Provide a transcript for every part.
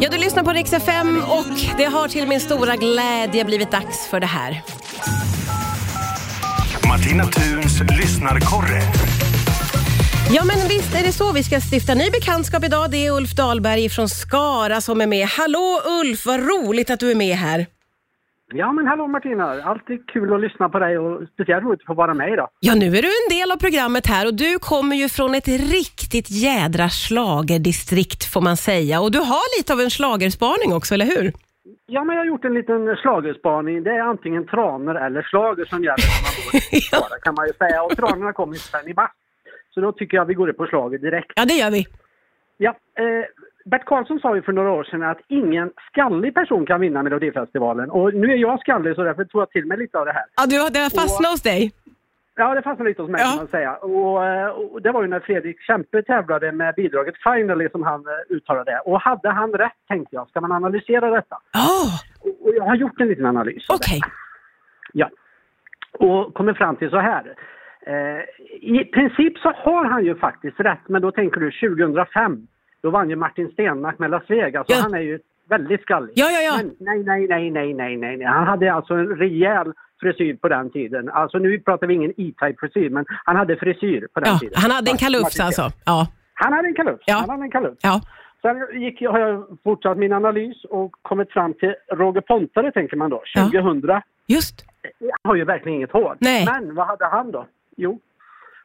Ja, du lyssnar på Rix FM och det har till min stora glädje blivit dags för det här. Martina Thuns lyssnarkorre. Ja, men visst är det så. Vi ska stifta ny bekantskap idag. Det är Ulf Dahlberg från Skara som är med. Hallå Ulf, vad roligt att du är med här. Ja men hallå Martina, alltid kul att lyssna på dig och speciellt roligt att få vara med idag. Ja, nu är du en del av programmet här och du kommer ju från ett riktigt jädra schlagerdistrikt får man säga. Och du har lite av en schlagerspaning också, eller hur? Ja men jag har gjort en liten schlagerspaning, det är antingen traner eller slager som gäller när man går i Skara, kan man ju säga och tranorna kommer ju sen i mars. Så då tycker jag vi går upp på slaget direkt. Ja, det gör vi. Ja, eh, Bert Karlsson sa ju för några år sedan att ingen skallig person kan vinna Melodifestivalen och nu är jag skallig så därför tog jag till mig lite av det här. Ja, du, det har fastnat hos dig. Ja, det fastnade lite hos mig Ja. kan man säga. Och, eh, och det var ju när Fredrik Kempe tävlade med bidraget Finally som han eh, uttalade. Och hade han rätt tänkte jag, ska man analysera detta? Oh, Och och jag har gjort en liten analys. av det. Okej. Ja. Och kommit fram till så här. Eh, I princip så har han ju faktiskt rätt, men då tänker du 2005. Då vann ju Martin Stenmarck med Las Vegas Ja. och han är ju väldigt skallig. Ja, ja, ja. Men nej, nej, nej, nej, nej, nej, nej. Han hade alltså en rejäl frisyr på den tiden. Alltså nu pratar vi ingen E-Type frisyr, men han hade frisyr på den Ja, tiden. han hade en kalufs Martin alltså. Ja, Han hade en kalufs. Ja. Han hade en kalufs. ja. Sen gick, har jag fortsatt min analys och kommit fram till Roger Pontare tänker man då, Ja. 2000. just. Han har ju verkligen inget hår. Nej. Men vad hade han då? Jo,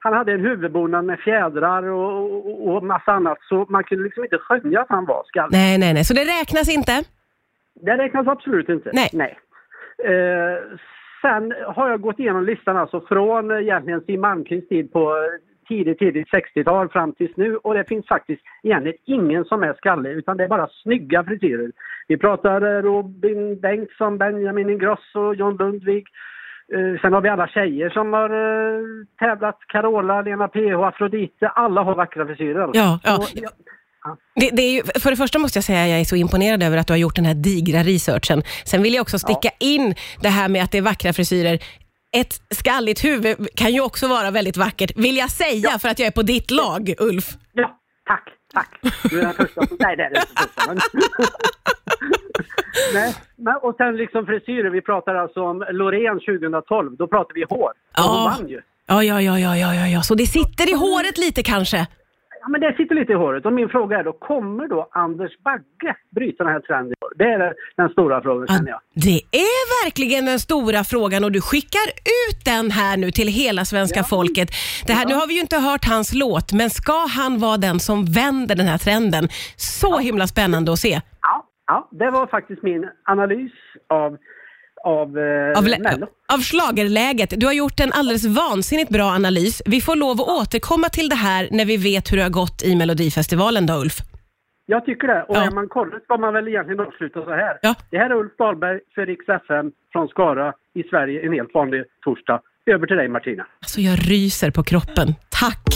han hade en huvudbonad med fjädrar och, och, och massa annat så man kunde liksom inte skönja att han var skallig. Nej, nej, nej. Så det räknas inte? Det räknas absolut inte. Nej. Eh, sen har jag gått igenom listan alltså från eh, egentligen Siw Malmkvists tid på eh, tidigt, tidigt 60-tal fram tills nu och det finns faktiskt egentligen ingen som är skallig utan det är bara snygga frisyrer. Vi pratar eh, Robin Bengtsson, Benjamin Ingrosso, John Lundvik. Eh, Sen har vi alla tjejer som har eh, tävlat, Carola, Lena PH, Afrodite, alla har vackra frisyrer. Ja, ja. Och jag- Det, det är ju, för det första måste jag säga att jag är så imponerad över att du har gjort den här digra researchen. Sen vill jag också sticka in det här med att det är vackra frisyrer. Ett skalligt huvud kan ju också vara väldigt vackert, vill jag säga, för att jag är på ditt lag, Ulf. Ja, tack, tack. Du är den första som... Nej, det är den inte första. Men... Nej, men, och sen liksom frisyrer. Vi pratar alltså om Loreen 2012. Då pratar vi hår. Och hon Ja. vann ju. Ja, ja, ja, ja, ja, ja, ja. så det sitter i håret lite kanske? Ja, men det sitter lite i håret. Och min fråga är då, kommer då Anders Bagge bryta den här trenden? Det är den stora frågan, Ja, känner jag. Ah, det är verkligen den stora frågan och du skickar ut den här nu till hela svenska folket. Det här, Nu har vi ju inte hört hans låt, men ska han vara den som vänder den här trenden? Så himla spännande att se. Ja, ja, det var faktiskt min analys av, av, eh, av, lä- Mello. av schlagerläget. Du har gjort en alldeles vansinnigt bra analys. Vi får lov att återkomma till det här när vi vet hur det har gått i Melodifestivalen då, Ulf. Jag tycker det. Och Ja. är man korrekt ska man väl egentligen avsluta så här. Ja. Det här är Ulf Dahlberg för Rix FM från Skara i Sverige en helt vanlig torsdag. Över till dig Martina. Alltså jag ryser på kroppen. Tack!